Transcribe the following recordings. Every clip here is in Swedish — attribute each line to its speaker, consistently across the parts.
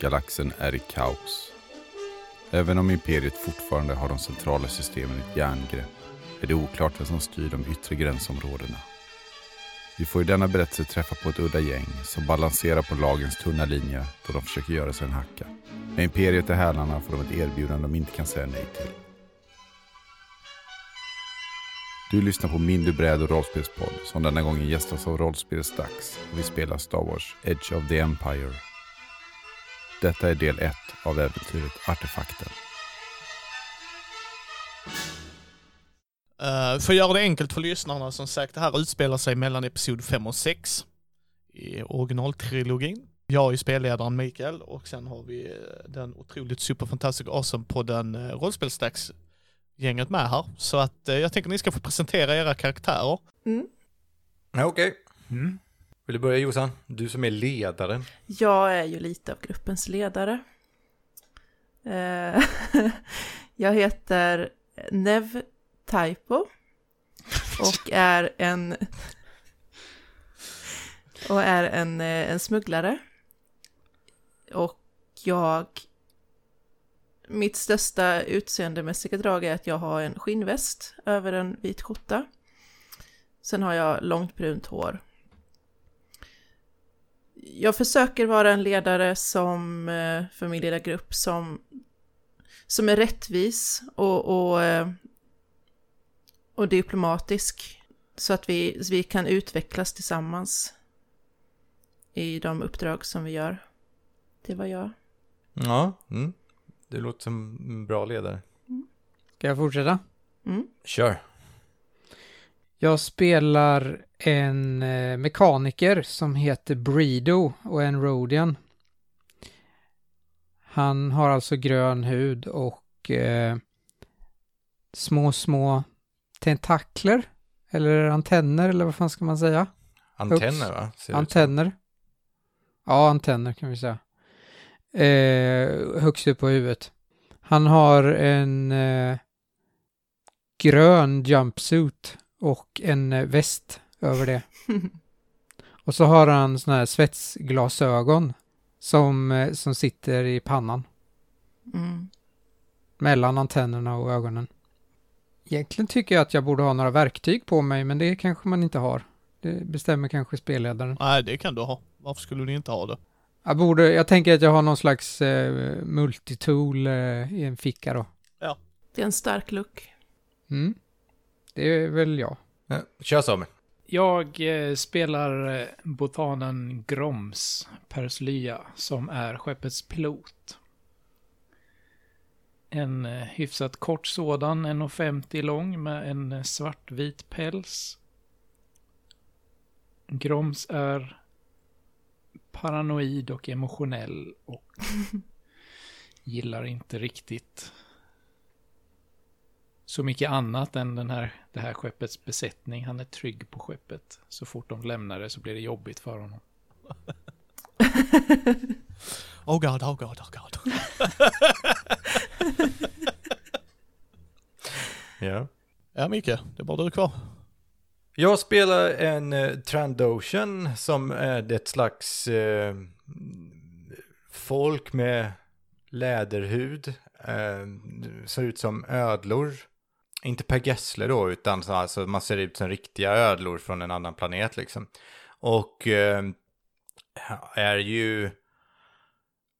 Speaker 1: Galaxen är i kaos. Även om imperiet fortfarande har de centrala systemen i ett järngrepp är det oklart vem som styr de yttre gränsområdena. Vi får i denna berättelse träffa på ett udda gäng som balanserar på lagens tunna linjer då de försöker göra sig en hacka. När imperiet är hälarna får de ett erbjudande de inte kan säga nej till. Du lyssnar på Min du bräd och rollspelspodd som denna gången gästas av rollspelet Dags och vi spelar Star Wars Edge of the Empire. Detta är del 1 av äventyret Artefakten.
Speaker 2: Eh, för att göra det enkelt för lyssnarna, som sagt, det här utspelar sig mellan episod 5 och 6 i originaltrilogin. Jag är spelledaren Mikael och sen har vi eh, den otroligt superfantastiska awesome på den rollspelstax gänget med här. Så att eh, jag tänker ni ska få presentera era karaktärer.
Speaker 3: Ja, Okej. Vill du börja Jossan? Du som är ledaren.
Speaker 4: Jag är ju lite av gruppens ledare. Eh, Jag heter Nev Taipo och är en och är en, eh, en smugglare. Och jag mitt största utseendemässiga drag är att jag har en skinnväst över en vit skjorta. Sen har jag långt brunt hår jag försöker vara en ledare som, eh, för min lilla grupp som, som är rättvis och, och, eh, och diplomatisk. Så att vi, så vi kan utvecklas tillsammans i de uppdrag som vi gör. Det var jag.
Speaker 3: Ja. Mm. Du låter som en bra ledare.
Speaker 5: Ska jag fortsätta?
Speaker 4: Mm.
Speaker 3: Kör.
Speaker 5: Jag spelar en eh, mekaniker som heter Breedo och är en Rodian. Han har alltså grön hud och eh, små, små tentakler. Eller antenner, eller vad fan ska man säga?
Speaker 3: Antenner va? Ser det ut som.
Speaker 5: Antenner. Ja, antenner kan vi säga. Eh, högst upp på huvudet. Han har en eh, grön jumpsuit och en eh, väst över det. Och så har han såna här svetsglasögon som, eh, som sitter i pannan
Speaker 4: Mm.
Speaker 5: mellan antennerna och ögonen. Egentligen tycker jag att jag borde ha några verktyg på mig, men det kanske man inte har. Det bestämmer kanske spelledaren.
Speaker 2: Nej, det kan du ha. Varför skulle du inte ha det?
Speaker 5: Jag borde, jag tänker att jag har någon slags eh, multitool eh, i en ficka då.
Speaker 4: Det är en stark look.
Speaker 5: Mm. Det är väl jag.
Speaker 3: Ja, Kör Samuel.
Speaker 6: Jag eh, spelar eh, botanen Groms Perslya som är skeppets pilot. En eh, hyfsat kort sådan, 1,50 lång med en eh, svartvit päls. Groms är paranoid och emotionell och gillar inte riktigt så mycket annat än den här, det här skeppets besättning. Han är trygg på skeppet. Så fort de lämnar det så blir det jobbigt för honom.
Speaker 2: Oh god, oh god, oh god.
Speaker 3: Ja.
Speaker 2: Ja, Micke, det är bara du kvar.
Speaker 3: Jag spelar en eh, Trandoshan som är ett slags eh, folk med läderhud. Eh, ser ut som ödlor. Inte Per Gessle då, utan så, alltså, man ser ut som riktiga ödlor från en annan planet liksom. Och eh, är ju,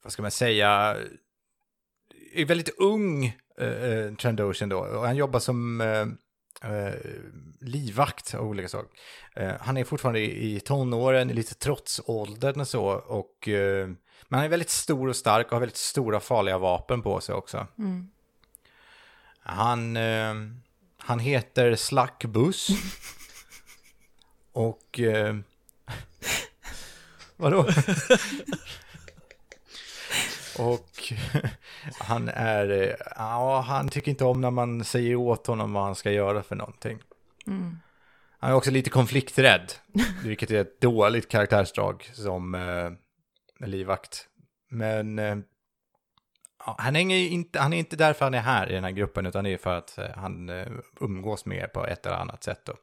Speaker 3: vad ska man säga, är väldigt ung eh, eh, Trandoshan då. Och han jobbar som eh, eh, livvakt av olika saker. Eh, han är fortfarande i, i tonåren, i lite trotsåldern och så. Och, eh, men han är väldigt stor och stark och har väldigt stora farliga vapen på sig också.
Speaker 4: Mm.
Speaker 3: Han, eh, han heter Slackbuss. och... Eh, vadå? och han är... eh, Ja, han tycker inte om när man säger åt honom vad han ska göra för någonting.
Speaker 4: Mm.
Speaker 3: Han är också lite konflikträdd, vilket är ett dåligt karaktärsdrag som eh, livvakt. Men eh, ja, han, hänger ju inte, han är inte därför han är här i den här gruppen, utan det är för att eh, han eh, umgås med er på ett eller annat sätt. Då.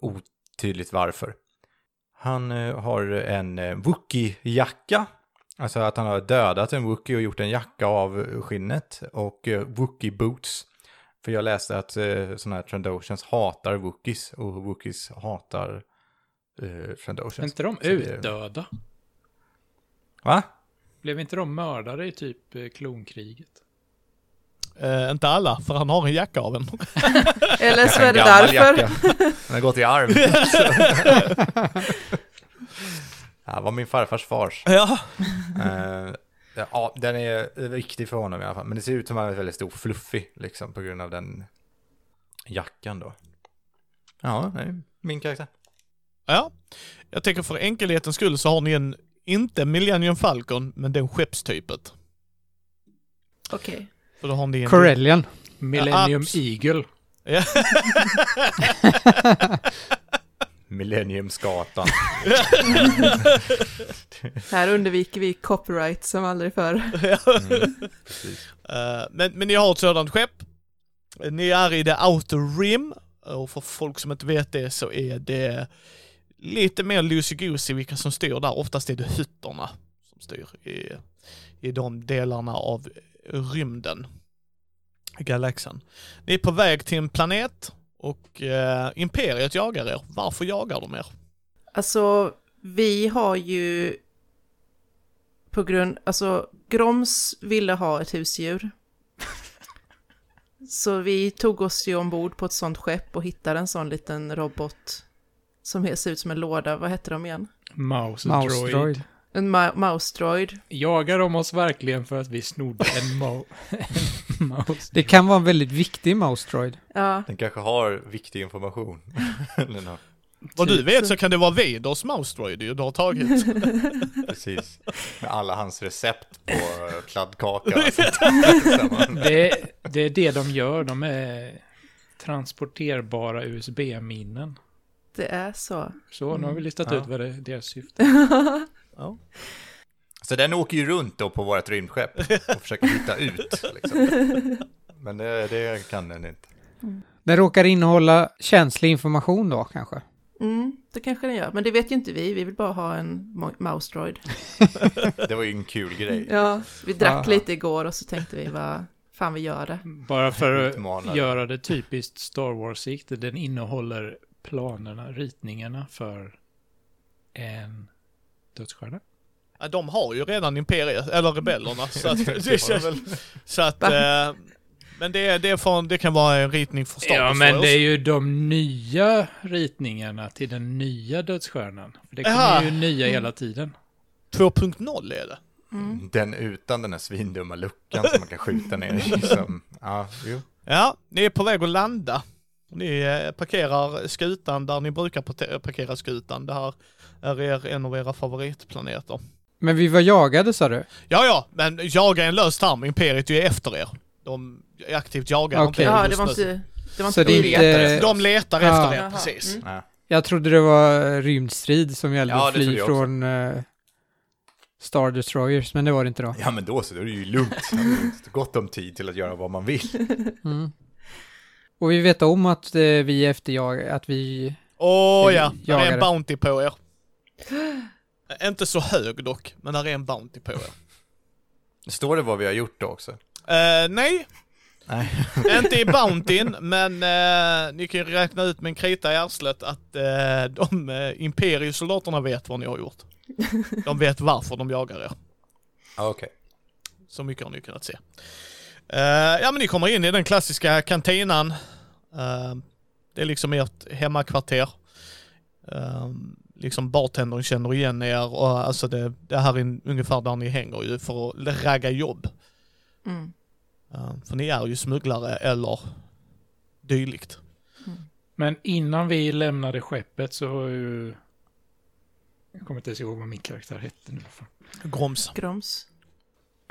Speaker 3: Otydligt varför. Han eh, har en eh, Wookie-jacka Alltså att han har dödat en Wookie och gjort en jacka av skinnet och eh, Wookie boots. För jag läste att eh, sådana här Trandoshans hatar Wookies och Wookies hatar eh,
Speaker 6: Blev
Speaker 3: Trandoshans.
Speaker 6: inte de
Speaker 3: Så det-
Speaker 6: utdöda?
Speaker 3: Va?
Speaker 6: Blev inte de mördade i typ eh, klonkriget?
Speaker 2: Eh, inte alla, för han har en jacka av en.
Speaker 4: Eller så
Speaker 3: En
Speaker 4: är det
Speaker 3: gammal
Speaker 4: därför.
Speaker 3: jacka. Den har gått i arv. Det var min farfars fars.
Speaker 2: ja.
Speaker 3: Eh, ja, den är viktig för honom i alla fall. Men det ser ut som att han är väldigt stor fluffig, liksom, på grund av den jackan då. Ja, nej, min karaktär.
Speaker 2: ja. Jag tänker för enkelhetens skull så har ni en, inte Millennium Falcon, men den skeppstypet.
Speaker 4: Okej.
Speaker 2: För då har ni en...
Speaker 5: Corellian.
Speaker 6: Millennium
Speaker 2: abs-
Speaker 6: Eagle.
Speaker 2: Ja.
Speaker 3: Millenniumskatan.
Speaker 4: Här undviker vi copyright som aldrig förr.
Speaker 3: Precis.
Speaker 2: Eh, men, men ni har ett sådant skepp. Eh, Ni är i the outer rim. Och för folk som inte vet det så är det lite mer loosey-goosey vilka som styr där. Oftast är det hytterna som styr i, i de delarna av rymden. Galaxen. Ni är på väg till en planet och eh, Imperiet jagar er. Varför jagar de er?
Speaker 4: Alltså, vi har ju på grund, alltså Groms ville ha ett husdjur. Så vi tog oss ju ombord på ett sånt skepp och hittade en sån liten robot som ser ut som en låda, vad hette de igen?
Speaker 6: Mouse, droid.
Speaker 5: Mouse-droid.
Speaker 4: En ma- mouse-droid.
Speaker 6: Jagar de oss verkligen för att vi snodde en, mo- en mouse?
Speaker 5: Det kan vara en väldigt viktig mouse-droid.
Speaker 4: Ja,
Speaker 3: Den kanske har viktig information. Eller nå,
Speaker 2: Vad du
Speaker 6: Typ.
Speaker 2: vet så kan det vara Vaders mouse droid ju du har tagit.
Speaker 3: Precis. Med alla hans recept på eh, kladdkaka. och sånt. Samma.
Speaker 6: Det, det är det de gör. De är transporterbara USB-minnen.
Speaker 4: det är så.
Speaker 6: Så nu har vi listat
Speaker 3: Ja.
Speaker 6: ut vad det är deras syfte.
Speaker 3: Så Alltså, den åker ju runt då på vårt rymdskepp och försöker hitta ut. Liksom. Men det, det kan den inte.
Speaker 5: Den råkar innehålla känslig information då kanske.
Speaker 4: Mm, det kanske den gör, men det vet ju inte vi, vi vill bara ha en mo- mouse-droid.
Speaker 3: Det var ju en kul grej.
Speaker 4: Ja, vi drack
Speaker 5: Ah.
Speaker 4: lite igår och så tänkte vi vad fan vi gör det.
Speaker 6: Bara för
Speaker 3: Utmanare.
Speaker 6: att göra det typiskt Star Wars-sikte. Den innehåller planerna, ritningarna för en dödsstjärna.
Speaker 2: Ja, de har ju redan Imperiet, eller Rebellerna. Så att, det
Speaker 3: har
Speaker 2: känns,
Speaker 3: de väl.
Speaker 2: så att eh, men det, är- det, är från, det kan vara en ritning för Star
Speaker 6: Ja,
Speaker 2: Wars
Speaker 6: men
Speaker 2: för
Speaker 6: det är
Speaker 2: oss.
Speaker 6: ju de nya ritningarna till den nya dödsstjärnan. För det
Speaker 2: Jaha.
Speaker 6: kommer ju nya hela tiden.
Speaker 2: 2.0 är det.
Speaker 3: Den utan den här svindumma luckan som man kan skjuta ner i. Som, ja, jo.
Speaker 2: Ja, ni är på väg att landa. Ni eh, parkerar skutan där ni brukar parte- parkera skutan. Det här är er, en av era favoritplaneter.
Speaker 5: Men vi var jagade sa du?
Speaker 2: Ja, ja, men jaga är en lös term. Imperiet är ju efter er. De aktivt jagar
Speaker 5: Okej.
Speaker 2: inte er
Speaker 4: Ja, det
Speaker 2: just
Speaker 4: var
Speaker 2: nu.
Speaker 4: inte... Det var
Speaker 5: Så
Speaker 4: inte
Speaker 5: det är
Speaker 4: vi.
Speaker 5: inte...
Speaker 2: De letar
Speaker 5: Ja.
Speaker 2: efter er,
Speaker 4: Jaha,
Speaker 2: precis.
Speaker 4: mm.
Speaker 3: Ja.
Speaker 5: Jag trodde det var eh, rymdstrid som gällde
Speaker 3: Ja,
Speaker 5: att
Speaker 3: det trodde
Speaker 5: fly
Speaker 3: jag
Speaker 5: från eh, Star Destroyers, men det var det inte då.
Speaker 3: ja, men då så, då är det ju lugnt. Man har ju Gott om tid till att göra vad man vill.
Speaker 5: Mm. Och vi vet om att eh, vi efterjag... att vi...
Speaker 2: Åh
Speaker 5: Det är
Speaker 2: ja, där är
Speaker 5: jagare.
Speaker 2: en Bounty på er. Inte så hög dock, men där är en Bounty på er.
Speaker 3: Står det vad vi har gjort då också?
Speaker 2: Eh, nej,
Speaker 3: Nej.
Speaker 2: inte i Bountyn, men eh, ni kan ju räkna ut med en krita i arslet att eh, de eh, imperiesoldaterna vet vad ni har gjort. De vet varför de jagar er.
Speaker 3: Ja, Okej.
Speaker 2: Så mycket har ni kunnat se. Eh, ja, men ni kommer in i den klassiska kantinan. Eh, det är liksom ert hemmakvarter. Eh, liksom bartendern känner igen er och alltså det, det här är en- ungefär där ni hänger ju för att ragga jobb.
Speaker 4: Mm.
Speaker 2: Eh, för ni är ju smugglare eller dylikt.
Speaker 6: Men innan vi lämnade skeppet så... har ju- Jag kommer inte ens ihåg vad min karaktär hette nu. fan.
Speaker 2: Groms.
Speaker 4: Groms.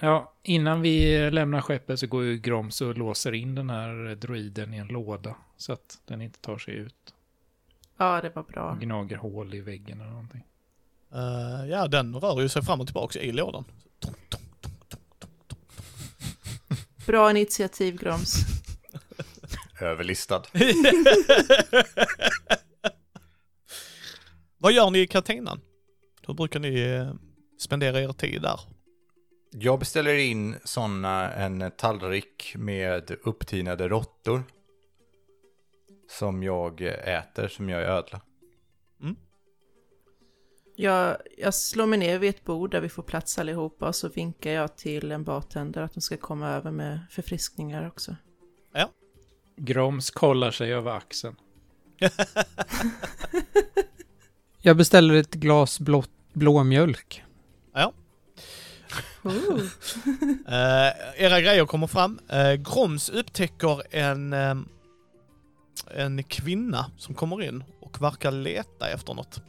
Speaker 6: Ja, innan vi lämnar skeppet så går ju Groms och låser in den här droiden i en låda. Så att den inte tar sig ut.
Speaker 4: Ja, det var bra.
Speaker 6: Gnager hål i väggen eller någonting.
Speaker 2: Eh, ja, den rör ju sig fram och tillbaka i lådan.
Speaker 4: Bra initiativ, Groms.
Speaker 3: Överlistad.
Speaker 2: Vad gör ni i kantinan? Hur brukar ni eh, spendera er tid där?
Speaker 3: Jag beställer in sådana, en tallrik med upptinade råttor. Som jag äter, som jag ödlar.
Speaker 4: Jag, jag slår mig ner vid ett bord där vi får plats allihopa och så vinkar jag till en bartender att de ska komma över med förfriskningar också.
Speaker 6: Groms kollar sig över axeln.
Speaker 5: Jag beställer ett glas blå, blå mjölk.
Speaker 4: Oh.
Speaker 2: Eh, era grejer kommer fram. Eh, Groms upptäcker en, eh, en kvinna som kommer in och verkar leta efter något.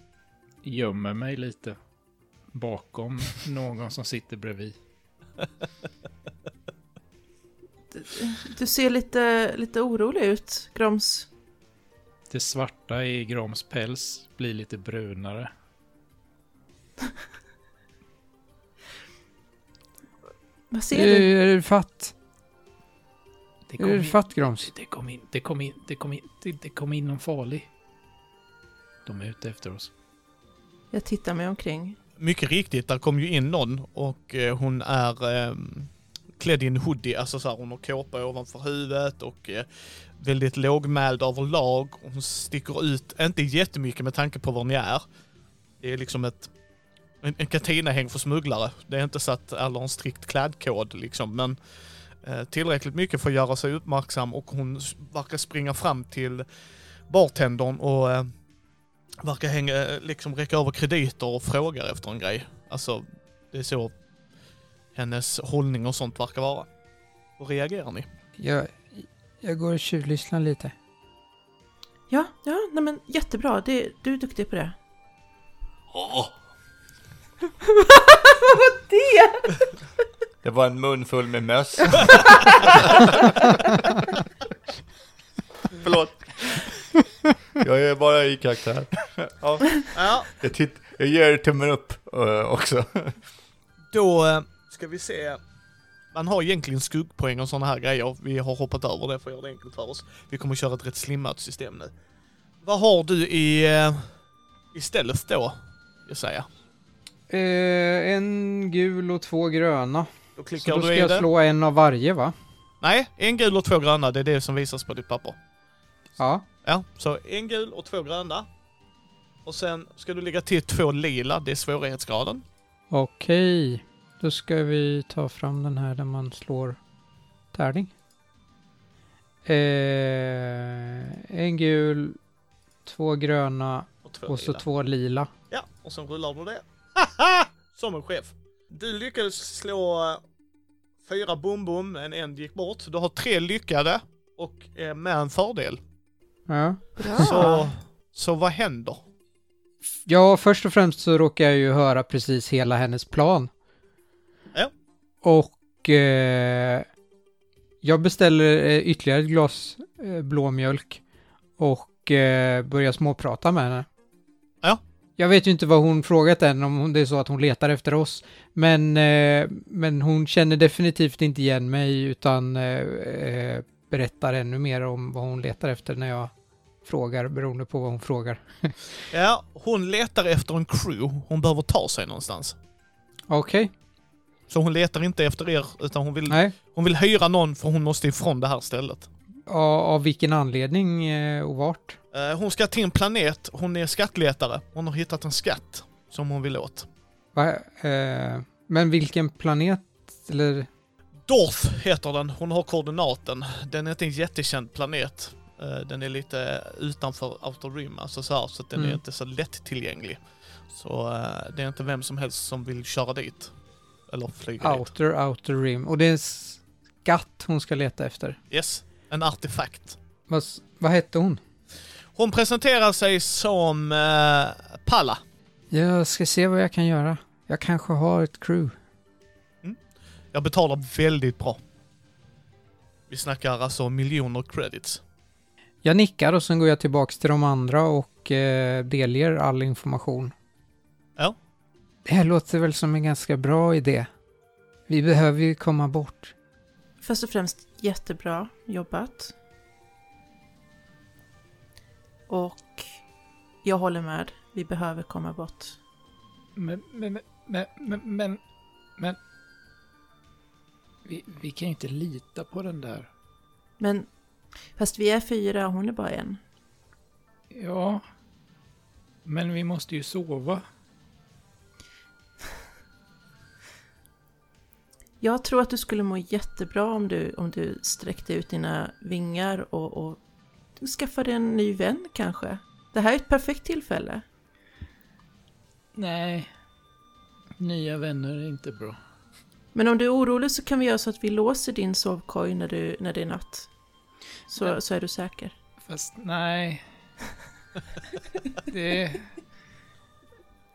Speaker 6: Gömmer mig lite. Bakom någon som sitter bredvid.
Speaker 4: Du ser lite, lite orolig ut, Groms.
Speaker 6: Det svarta i Groms päls blir lite brunare.
Speaker 4: Vad ser du?
Speaker 5: Eh, Är du fatt?
Speaker 6: Det
Speaker 5: Är
Speaker 6: kom
Speaker 5: du
Speaker 6: in,
Speaker 5: fatt Groms?
Speaker 6: det kom in, det kom in, det kom in, det, det kom in någon farlig. De är ute efter oss.
Speaker 4: Jag tittar mig omkring.
Speaker 2: Mycket riktigt, där kom ju in någon och eh, hon är eh, klädd i en hoodie, alltså så här, hon har kåpa ovanför huvudet och eh, väldigt lågmäld överlag. Hon sticker ut, inte jättemycket med tanke på var ni är. Det är liksom ett en, en katinahäng för smugglare. Det är inte så att alla har en strikt klädkod liksom, men eh, tillräckligt mycket för att göra sig uppmärksam och hon s- verkar springa fram till bartendern och eh, verkar hänga, liksom räcka över krediter och frågar efter en grej. Alltså, det är så hennes hållning och sånt verkar vara. Hur reagerar ni?
Speaker 5: Jag, jag går och tjuvlyssnar lite.
Speaker 4: Ja, ja, nej men jättebra. Det, du är duktig på det. Vad det?
Speaker 3: Det var en munfull med möss. Förlåt. Jag är bara i karaktär. Ja,
Speaker 2: Ja,
Speaker 3: jag, titt- jag ger tummen upp eh, också.
Speaker 2: då eh, ska vi se. Man har egentligen skuggpoäng och sådana här grejer. Vi har hoppat över det för att göra det enkelt för oss. Vi kommer köra ett rätt slimmat system nu. Vad har du i eh, istället då? Jag säger.
Speaker 5: Eh, en gul och två gröna.
Speaker 2: Då
Speaker 5: Så
Speaker 2: klickar
Speaker 5: då
Speaker 2: du
Speaker 5: ska
Speaker 2: i
Speaker 5: jag
Speaker 2: det.
Speaker 5: slå en av varje va?
Speaker 2: Nej, en gul och två gröna. Det är det som visas på ditt papper.
Speaker 5: Ja.
Speaker 2: Ja, så en gul och två gröna. Och sen ska du lägga till två lila, det är svårighetsgraden.
Speaker 5: Okej. Då ska vi ta fram den här där man slår tärning. Eh, en gul, två gröna
Speaker 2: Och två
Speaker 5: och så
Speaker 2: lila.
Speaker 5: två lila.
Speaker 2: Ja, och sen rullar du det. Haha! Som en chef. Du lyckades slå eh, fyra bom-bom, en end gick bort. Du har tre lyckade och eh, med en fördel.
Speaker 5: Ja.
Speaker 4: Bra.
Speaker 2: Så, så vad händer?
Speaker 5: Ja, först och främst så råkar jag ju höra precis hela hennes plan.
Speaker 2: Ja.
Speaker 5: Och eh, jag beställer eh, ytterligare ett glas eh, blåmjölk och eh, börjar småprata med henne.
Speaker 2: Ja.
Speaker 5: Jag vet ju inte vad hon frågat än, om hon- det är så att hon letar efter oss. Men, eh, men hon känner definitivt inte igen mig utan eh, eh, berättar ännu mer om vad hon letar efter när jag frågar, beroende på vad hon frågar.
Speaker 2: Ja, hon letar efter en crew. Hon behöver ta sig någonstans.
Speaker 5: Okej,
Speaker 2: Mm. Så hon letar inte efter er, utan hon vill,
Speaker 5: nej.
Speaker 2: hon vill hyra någon för hon måste ifrån det här stället.
Speaker 5: Av, av vilken anledning eh, och vart?
Speaker 2: Eh, Hon ska till en planet, hon är skattletare. Hon har hittat en skatt som hon vill åt.
Speaker 5: Va, eh, men vilken planet? Eller?
Speaker 2: Dorth heter den, hon har koordinaten. Den är inte en jättekänd planet. Eh, Den är lite utanför Outer Rim, alltså så, här, så att den är
Speaker 5: Mm.
Speaker 2: inte så lättillgänglig. Så eh, det är inte vem som helst som vill köra dit. Eller flyga dit.
Speaker 5: Outer, outer rim. Och det är en skatt hon ska leta efter.
Speaker 2: Yes, en artefakt.
Speaker 5: Vad, s- vad hette hon?
Speaker 2: Hon presenterar sig som eh, Palla.
Speaker 5: Jag ska se vad jag kan göra. Jag kanske har ett crew.
Speaker 2: Jag betalar väldigt bra. Vi snackar alltså miljoner credits.
Speaker 5: Jag nickar och sen går jag tillbaks till de andra och eh, delger all information.
Speaker 2: Ja.
Speaker 5: Det här låter väl som en ganska bra idé. Vi behöver ju komma bort.
Speaker 4: Först och främst jättebra jobbat. Och jag håller med. Vi behöver komma bort.
Speaker 6: Men, men, men, men, men, men, Vi, vi kan ju inte lita på den där.
Speaker 4: Men fast vi är fyra och hon är bara en.
Speaker 6: Ja, men vi måste ju sova.
Speaker 4: Jag tror att du skulle må jättebra om du, om du sträckte ut dina vingar och, och skaffade en ny vän kanske. Det här är ett perfekt tillfälle.
Speaker 6: Nej, nya vänner är inte bra.
Speaker 4: Men om du är orolig så kan vi göra så att vi låser din sovkoj när, du, när det är natt. Så,
Speaker 6: Ja.
Speaker 4: så är du säker.
Speaker 6: Fast nej. Det...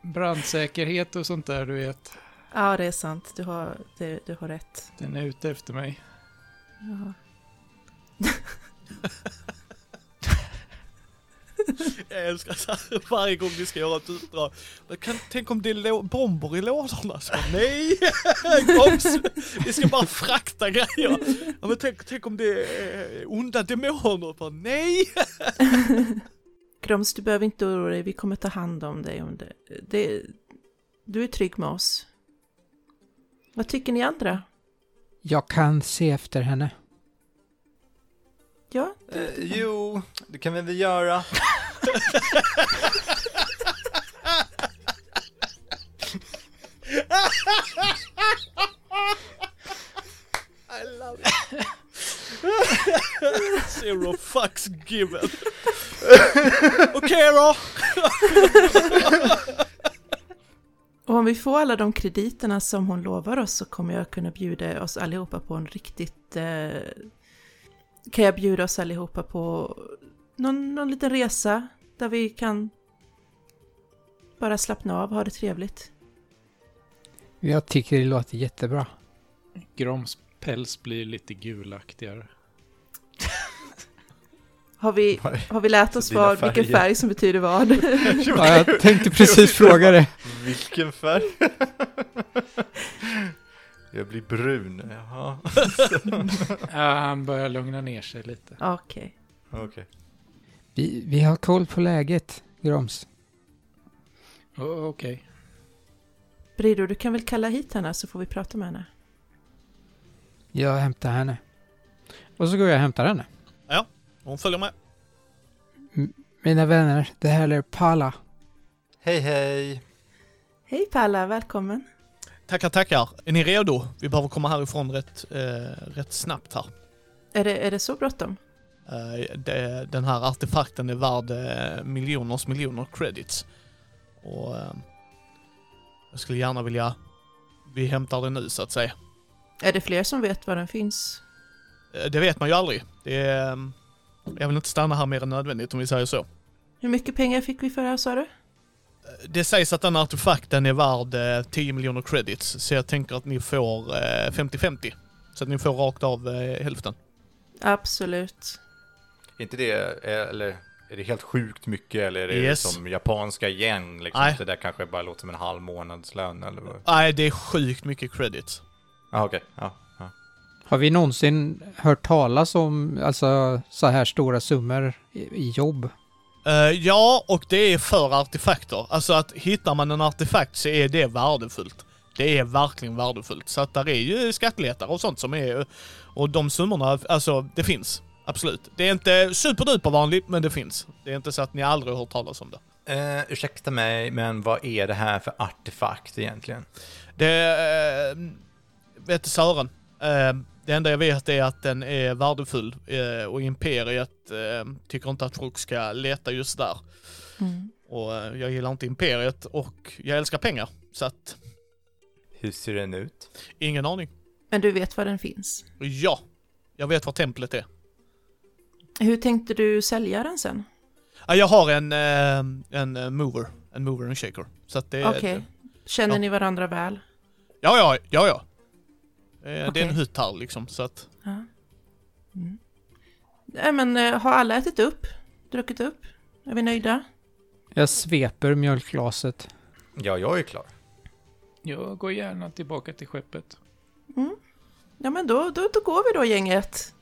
Speaker 6: Brandsäkerhet och sånt där, du vet.
Speaker 4: Ja, det är sant. Du har, det, du har rätt.
Speaker 6: Den är ute efter mig.
Speaker 4: Ja.
Speaker 2: Jag älskar så här, varje gång vi ska göra ett utdrag. Men kan, tänk om det är lå- bomber i lådorna? Så, nej! Komps, vi ska bara frakta grejer. Ja, men tänk, tänk om det är eh, onda demoner? Bara, nej!
Speaker 4: Groms, du behöver inte oroa dig. Vi kommer ta hand om dig. Om det. Det, du är trygg med oss. Vad tycker ni andra?
Speaker 5: Jag kan se efter henne.
Speaker 4: Ja,
Speaker 3: Eh, jo, det kan vi väl göra.
Speaker 2: I love it. Zero fucks given. Okej då!
Speaker 4: Och om vi får alla de krediterna som hon lovar oss så kommer jag kunna bjuda oss allihopa på en riktigt... Eh, kan jag bjuda oss allihopa på någon, någon liten resa där vi kan bara slappna av, ha det trevligt.
Speaker 5: Jag tycker det låter jättebra.
Speaker 6: Groms päls blir lite gulaktigare.
Speaker 4: Har vi,
Speaker 3: Vad är-
Speaker 4: har vi lärt oss
Speaker 3: dina
Speaker 4: vad, vilken
Speaker 3: färger.
Speaker 4: färg som betyder vad?
Speaker 5: Ja, jag tänkte precis fråga det.
Speaker 3: Vilken färg? Jag blir brun. Jaha,
Speaker 6: Ja, han börjar lugna ner sig lite.
Speaker 4: Okej.
Speaker 3: okej.
Speaker 5: Vi, vi har koll på läget, Groms.
Speaker 6: O- Okej.
Speaker 4: Brido, du kan väl kalla hit henne så får vi prata med henne.
Speaker 5: Jag hämtar henne. Och så går jag och hämtar henne.
Speaker 2: Hon följer med.
Speaker 5: Mina vänner, det här är Pala.
Speaker 3: Hej, hej.
Speaker 4: Hej Palla, välkommen.
Speaker 2: Tackar, tackar. Är ni redo? Vi behöver komma härifrån rätt, eh, rätt snabbt här.
Speaker 4: Är det, är det så bråttom?
Speaker 2: Eh, det, den här artefakten är värd eh, miljoners miljoner credits. Och eh, jag skulle gärna vilja... Vi hämtar den nu så att säga.
Speaker 4: Är det fler som vet var den finns?
Speaker 2: Eh, det vet man ju aldrig. Det är, eh, jag vill inte stanna här mer än nödvändigt om vi säger så. Eh,
Speaker 4: Hur mycket pengar fick vi för det här sa du?
Speaker 2: Det sägs att den artefakten är värd eh, 10 miljoner credits, så jag tänker att ni får eh, 50-50. Så att ni får rakt av eh, hälften.
Speaker 4: Absolut.
Speaker 3: Är inte det, eh, eller är det helt sjukt mycket eller är det
Speaker 2: Yes.
Speaker 3: som japanska yen? Liksom?
Speaker 2: Nej.
Speaker 3: Det där kanske bara låter som en halv månadslön eller vad?
Speaker 2: Nej, det är sjukt mycket credits.
Speaker 3: Ah, okej. Ja, ja.
Speaker 5: Har vi någonsin hört talas om alltså, så här stora summor i, i jobb?
Speaker 2: Eh, ja, och det är för artefakter. Alltså att hittar man en artefakt så är det värdefullt. Det är verkligen värdefullt. Så att där är ju skattletare och sånt som är... Och de summorna, alltså det finns. Absolut. Det är inte superduper vanligt, men det finns. Det är inte så att ni aldrig har hört talas om det.
Speaker 3: Eh, ursäkta mig, men vad är det här för artefakt egentligen?
Speaker 2: Det... Uh, vet du, Sören. Eh, det enda jag vet är att den är värdefull eh, och Imperiet eh, tycker inte att folk ska leta just där.
Speaker 4: Mm.
Speaker 2: Och eh, jag gillar inte Imperiet och jag älskar pengar. Så att
Speaker 3: Hur ser den ut?
Speaker 2: Ingen aning.
Speaker 4: Men du vet var den finns.
Speaker 2: Ja, jag vet vad templet är.
Speaker 4: Hur tänkte du sälja den sen?
Speaker 2: Ja, Jag har en, eh, en eh, mover, en mover och en shaker. Så att det
Speaker 4: Okej. Känner
Speaker 2: ja.
Speaker 4: ni varandra väl?
Speaker 2: Ja, ja, ja, ja. Eh, Det
Speaker 4: Okej.
Speaker 2: är en hytt här liksom, så att...
Speaker 4: Ja. Mm. Nej men eh, har alla ätit upp? Druckit upp? Är vi nöjda?
Speaker 5: Jag sveper mjölkglaset.
Speaker 3: Ja, jag är klar.
Speaker 6: Jag går gärna tillbaka till skeppet.
Speaker 4: Mm. Ja men då, då, då går vi då gänget.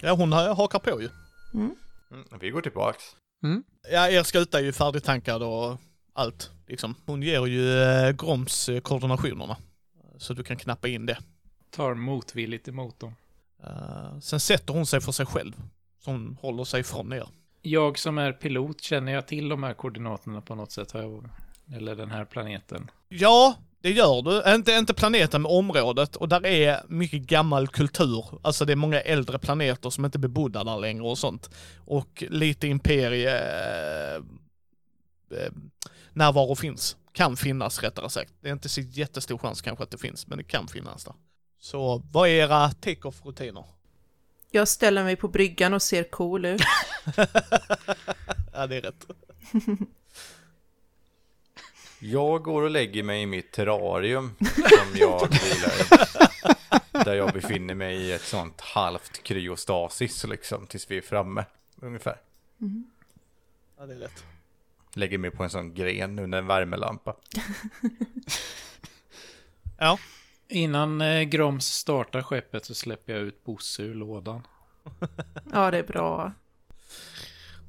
Speaker 2: Ja, hon ha- hakar på ju.
Speaker 4: Mm.
Speaker 3: Mm, vi går tillbaks.
Speaker 5: Mm.
Speaker 2: Ja, er skuta är ju färdigtankad och allt, liksom. Hon ger ju eh, Groms eh, koordinationerna. Så du kan knappa in det.
Speaker 6: Tar motvilligt emot dem.
Speaker 2: Eh, sen sätter hon sig för sig själv. Så hon håller sig ifrån er.
Speaker 6: Jag som är pilot, känner jag till de här koordinaterna på något sätt? Har jag, eller den här planeten?
Speaker 2: Ja, det gör du. Inte, inte planeten, men området. Och där är mycket gammal kultur. Alltså det är många äldre planeter som inte är bebodda där längre och sånt. Och lite imperie... Eh, eh, närvaro finns. Kan finnas rättare sagt. Det är inte så jättestor chans kanske att det finns, men det kan finnas där. Så vad är era take-off-rutiner?
Speaker 4: Jag ställer mig på bryggan och ser cool ut.
Speaker 2: ja, det är rätt.
Speaker 3: Jag går och lägger mig i mitt terrarium som jag vilar i. Där jag befinner mig i ett sånt halvt kryostasis liksom tills vi är framme ungefär.
Speaker 2: Ja, det är rätt.
Speaker 3: Lägger mig på en sån gren under en värmelampa.
Speaker 2: Ja.
Speaker 6: Innan eh, Groms startar skeppet så släpper jag ut Bosse ur lådan.
Speaker 4: Ja, det är bra.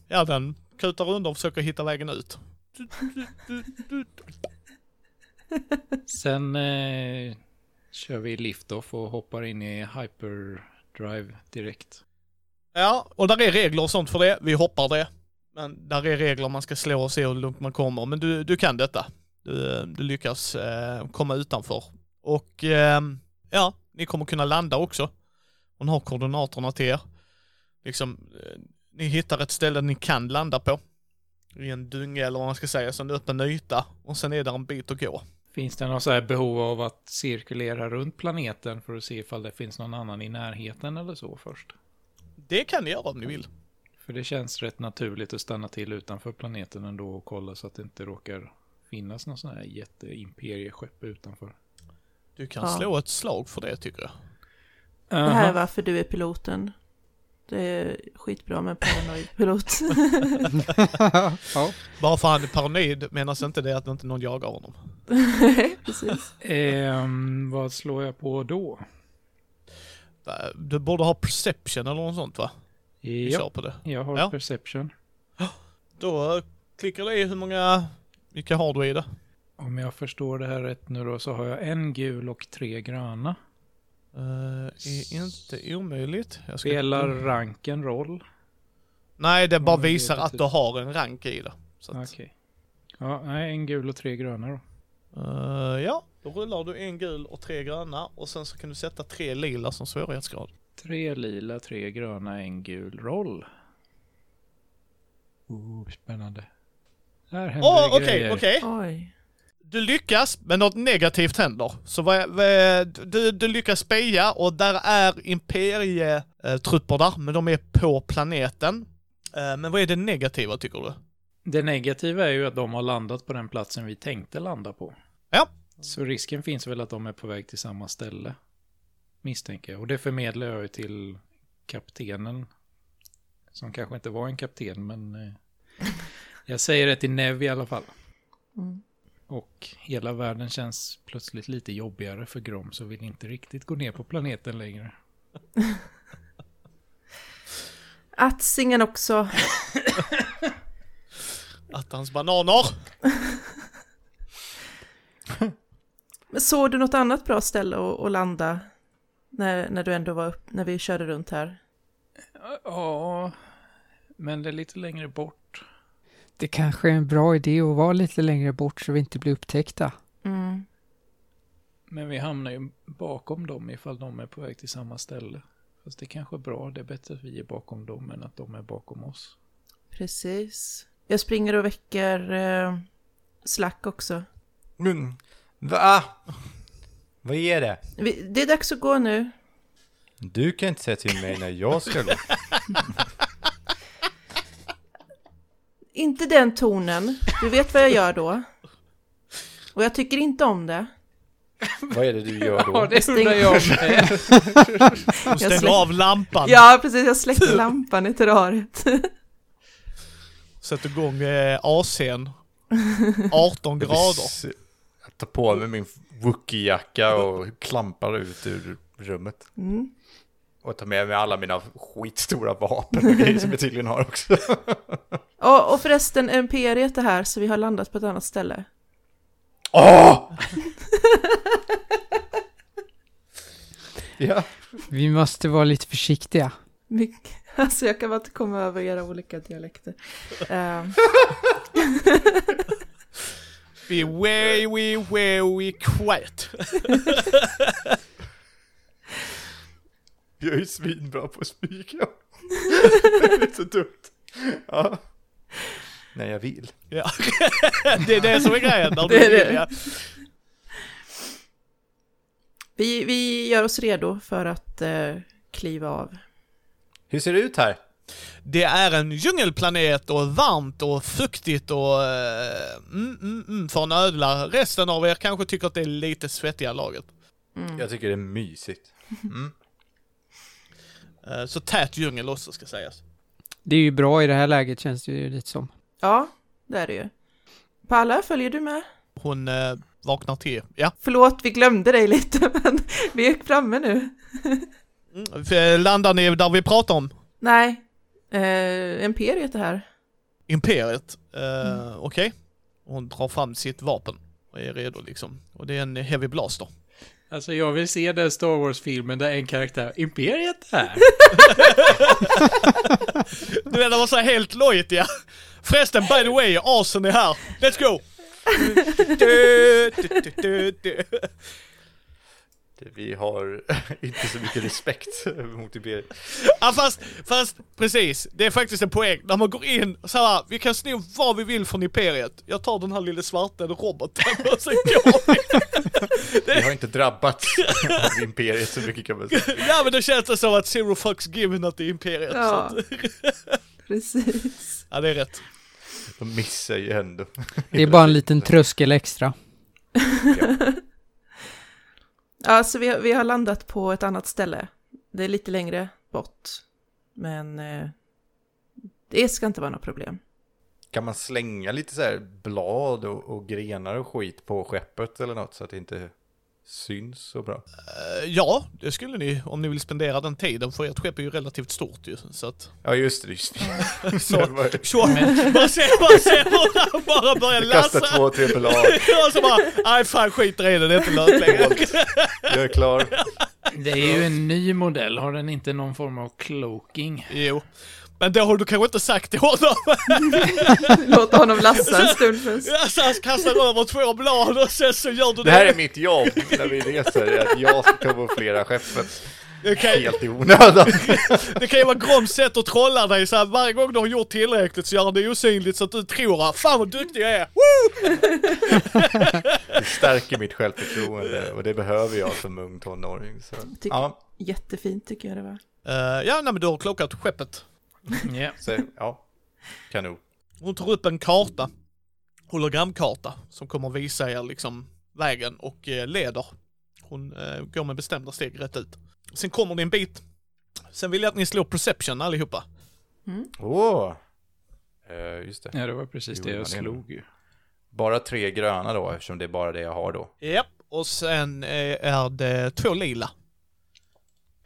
Speaker 2: Ja, den kutar under och försöker hitta vägen ut.
Speaker 6: Sen eh, kör vi liftoff och hoppar in i hyperdrive direkt.
Speaker 2: Ja, och där är regler och sånt för det. Vi hoppar det. Men där är regler, man ska slå och se hur långt man kommer. Men du, du kan detta. Du, eh, du lyckas eh, komma utanför. Och eh, ja, ni kommer kunna landa också. Hon har koordinaterna till er. Liksom, eh, ni hittar ett ställe ni kan landa på. I en dunge eller vad man ska säga, så en öppen yta. Och sen är där en bit att gå.
Speaker 6: Finns det något så här behov av att cirkulera runt planeten för att se ifall det finns någon annan i närheten eller så först?
Speaker 2: Det kan ni göra om ni vill.
Speaker 6: För det känns rätt naturligt att stanna till utanför planeten ändå och kolla så att det inte råkar finnas någon sån här jätteimperieskepp utanför.
Speaker 2: Du kan
Speaker 4: Ja.
Speaker 2: slå ett slag för det tycker jag.
Speaker 4: Det här är
Speaker 6: Aha.
Speaker 4: varför du är piloten. Det är skitbra med en paranoid pilot.
Speaker 5: ja.
Speaker 2: Bara för han är paranoid menas inte det att inte någon jagar honom.
Speaker 4: Precis.
Speaker 6: Ehm, vad slår jag på då?
Speaker 2: Va, Du borde ha perception eller något sånt va? Vi
Speaker 6: Ja,
Speaker 2: kör på det.
Speaker 6: jag har
Speaker 2: Ja.
Speaker 6: perception.
Speaker 2: Då eh, klickar du i hur många... Vilka har du i det?
Speaker 6: Om jag förstår det här rätt nu då så har jag en gul och tre gröna.
Speaker 2: är Eh, inte omöjligt. Jag ska-
Speaker 6: Spelar ranken roll?
Speaker 2: Nej, det bara
Speaker 6: Ja, men det är
Speaker 2: visar
Speaker 6: det
Speaker 2: att
Speaker 6: typ.
Speaker 2: du har en rank i det. Så
Speaker 6: Okej.
Speaker 2: att,
Speaker 6: Ja, nej, en gul och tre gröna då.
Speaker 2: eh, ja, då rullar du en gul och tre gröna och sen så kan du sätta tre lila som svårighetsgrad.
Speaker 6: Tre lila, tre gröna, en gul roll. Oh, spännande. Där händer
Speaker 2: Åh,
Speaker 6: det
Speaker 2: okej,
Speaker 6: grejer.
Speaker 2: okej.
Speaker 4: Oj.
Speaker 2: Du lyckas, men något negativt händer. Så vad, vad, du, du lyckas speja och där är imperietrupper där, men de är på planeten. Eh, Men vad är det negativa tycker du?
Speaker 6: Det negativa är ju att de har landat på den platsen vi tänkte landa på.
Speaker 2: Ja.
Speaker 6: Så risken finns väl att de är på väg till samma ställe. Misstänker jag. Och det förmedlar jag ju till kaptenen. Som kanske inte var en kapten, men... eh, Jag säger det till Nev i alla fall.
Speaker 4: Mm.
Speaker 6: Och hela världen känns plötsligt lite jobbigare för Grom, så vill inte riktigt gå ner på planeten längre.
Speaker 4: Atsingen också.
Speaker 2: Attans bananer!
Speaker 4: Men såg du något annat bra ställe att, att landa? När, när du ändå var upp, när vi körde runt här.
Speaker 6: Ja, men det är lite längre bort.
Speaker 5: Det kanske är en bra idé att vara lite längre bort så vi inte blir upptäckta.
Speaker 4: Mm.
Speaker 6: Men vi hamnar ju bakom dem ifall de är på väg till samma ställe. Fast det kanske är bra, det är bättre att vi är bakom dem än att de är bakom oss.
Speaker 4: Precis. Jag springer och väcker eh, Slack också.
Speaker 3: Men, Mm. va? Vad är det?
Speaker 4: Vi, det är dags att gå nu.
Speaker 3: Du kan inte säga till mig när jag ska gå.
Speaker 4: Inte den tonen. Du vet vad jag gör då. Och jag tycker inte om det.
Speaker 3: Vad är det du gör då?
Speaker 6: det
Speaker 4: undrar jag
Speaker 6: med.
Speaker 2: Du stänger
Speaker 4: släpp-
Speaker 2: av lampan!
Speaker 4: Ja, precis. Jag släcker lampan i terrariet.
Speaker 2: Sätter igång eh, AC'n. 18 grader.
Speaker 3: Jag tar på mig min wookie-jacka och klampar ut ur rummet.
Speaker 4: Mm.
Speaker 3: Och tar med mig alla mina skitstora vapen och grejer som jag tydligen har också.
Speaker 4: Och, och förresten, Imperiet är här så vi har landat på ett annat ställe.
Speaker 3: Åh! Ja.
Speaker 5: Vi måste vara lite försiktiga.
Speaker 4: Mycket. Alltså jag kan bara inte komma över era olika dialekter. Ehm,
Speaker 2: Be way, way, way quiet.
Speaker 3: Jag är ju svinbra på att spika. det är så dumt. Ja. När jag vill.
Speaker 2: Ja. det är det som är grejen. När
Speaker 4: Det är
Speaker 2: du
Speaker 4: det.
Speaker 2: vill, ja.
Speaker 4: vi, vi gör oss redo för att eh, kliva av.
Speaker 3: Hur ser det ut här?
Speaker 2: Det är en djungelplanet och varmt och fuktigt och eh, mm, mm, mm, för en ödla. Resten av er kanske tycker att det är lite svettiga laget.
Speaker 4: Mm.
Speaker 3: Jag tycker det är mysigt. Mm.
Speaker 2: Eh, Så tät djungel också ska sägas.
Speaker 5: Det är ju bra i det här läget känns det ju lite som.
Speaker 4: Ja, det är det ju. Palla, följer du med?
Speaker 2: Hon eh, vaknar till. Ja.
Speaker 4: Förlåt, vi glömde dig lite, men vi är framme nu.
Speaker 2: Mm. För Landar ni där vi pratar om?
Speaker 4: Nej, eh, Imperiet är här.
Speaker 2: Imperiet. Eh, Okej. Hon drar fram sitt vapen och är redo liksom. Och det är en heavy blaster.
Speaker 6: Alltså jag vill se den Star Wars-filmen där en karaktär, Imperiet här.
Speaker 2: Du vet, de var så här helt lojt ja. Förresten, by the way, asen är här. Let's go! Du, du, du, du, du.
Speaker 3: Vi har inte så mycket respekt mot Imperiet.
Speaker 2: Ja fast, fast precis, det är faktiskt en poäng. När man går in och så här, vi kan sno vad vi vill från Imperiet. Jag tar den här lille svarta roboten och sen går vi.
Speaker 3: Vi har inte drabbats av Imperiet så mycket kan man säga.
Speaker 2: Ja men då känns det som att zero fucks given att det är Imperiet. Ja, så
Speaker 4: Ja,
Speaker 2: att,
Speaker 4: precis.
Speaker 2: ja det är rätt.
Speaker 3: De missar ju ändå.
Speaker 5: Det är bara en liten tröskel extra.
Speaker 4: Ja, så vi, vi har landat på ett annat ställe. Det är lite längre bort. Men eh, det ska inte vara något problem.
Speaker 3: Kan man slänga lite så här blad och, och grenar och skit på skeppet eller något så att det inte syns så bra?
Speaker 2: Eh, Ja, det skulle ni om ni vill spendera den tiden för ert skepp är ju relativt stort ju. Så att,
Speaker 3: Ja just det, just det.
Speaker 2: Så.
Speaker 3: Det var-
Speaker 2: sure. Man ser, man ser hur han bara börjar
Speaker 3: Kasta
Speaker 2: läsa.
Speaker 3: två, tre blad.
Speaker 2: Och så bara, nej fan skiter i det, det är inte lönt längre.
Speaker 3: Jag är klar.
Speaker 6: Det är ju en ny modell, har den inte någon form av cloaking?
Speaker 2: Jo. Men det har du kanske inte sagt till honom.
Speaker 4: Låt honom lassa en stund först.
Speaker 2: Ja, så Alltså, han kastar över två blad och sen så gör du
Speaker 3: Det
Speaker 2: det.
Speaker 3: här är mitt jobb när vi reser, att jag ska kamouflera skeppet
Speaker 2: det, kan, ju-
Speaker 3: helt i onödan.
Speaker 2: det kan ju vara Groms sätt att trolla dig så här, varje gång du har gjort tillräckligt så gör han det osynligt så att du tror att fan vad duktig jag är. Woo!
Speaker 3: Det stärker mitt självförtroende och det behöver jag som ung tonåring. Så.
Speaker 4: Tycker-
Speaker 3: Ja,
Speaker 4: Jättefint tycker jag det var.
Speaker 2: Eh, ja, nej, men du har klockat skeppet.
Speaker 6: Ja.
Speaker 3: så, ja. Kanon.
Speaker 2: Hon tar upp en karta, hologramkarta, som kommer visa er liksom vägen och eh, leder. Hon eh, går med bestämda steg rätt ut. Sen kommer ni en bit. Sen vill jag att ni slår perception allihopa.
Speaker 3: Åh! Eh, just det.
Speaker 6: ja, det var precis det
Speaker 3: Jo,
Speaker 6: jag
Speaker 3: det är det.
Speaker 6: slog ju.
Speaker 3: Bara tre gröna då, eftersom det är bara det jag har då.
Speaker 2: Japp, och sen eh, är det två lila.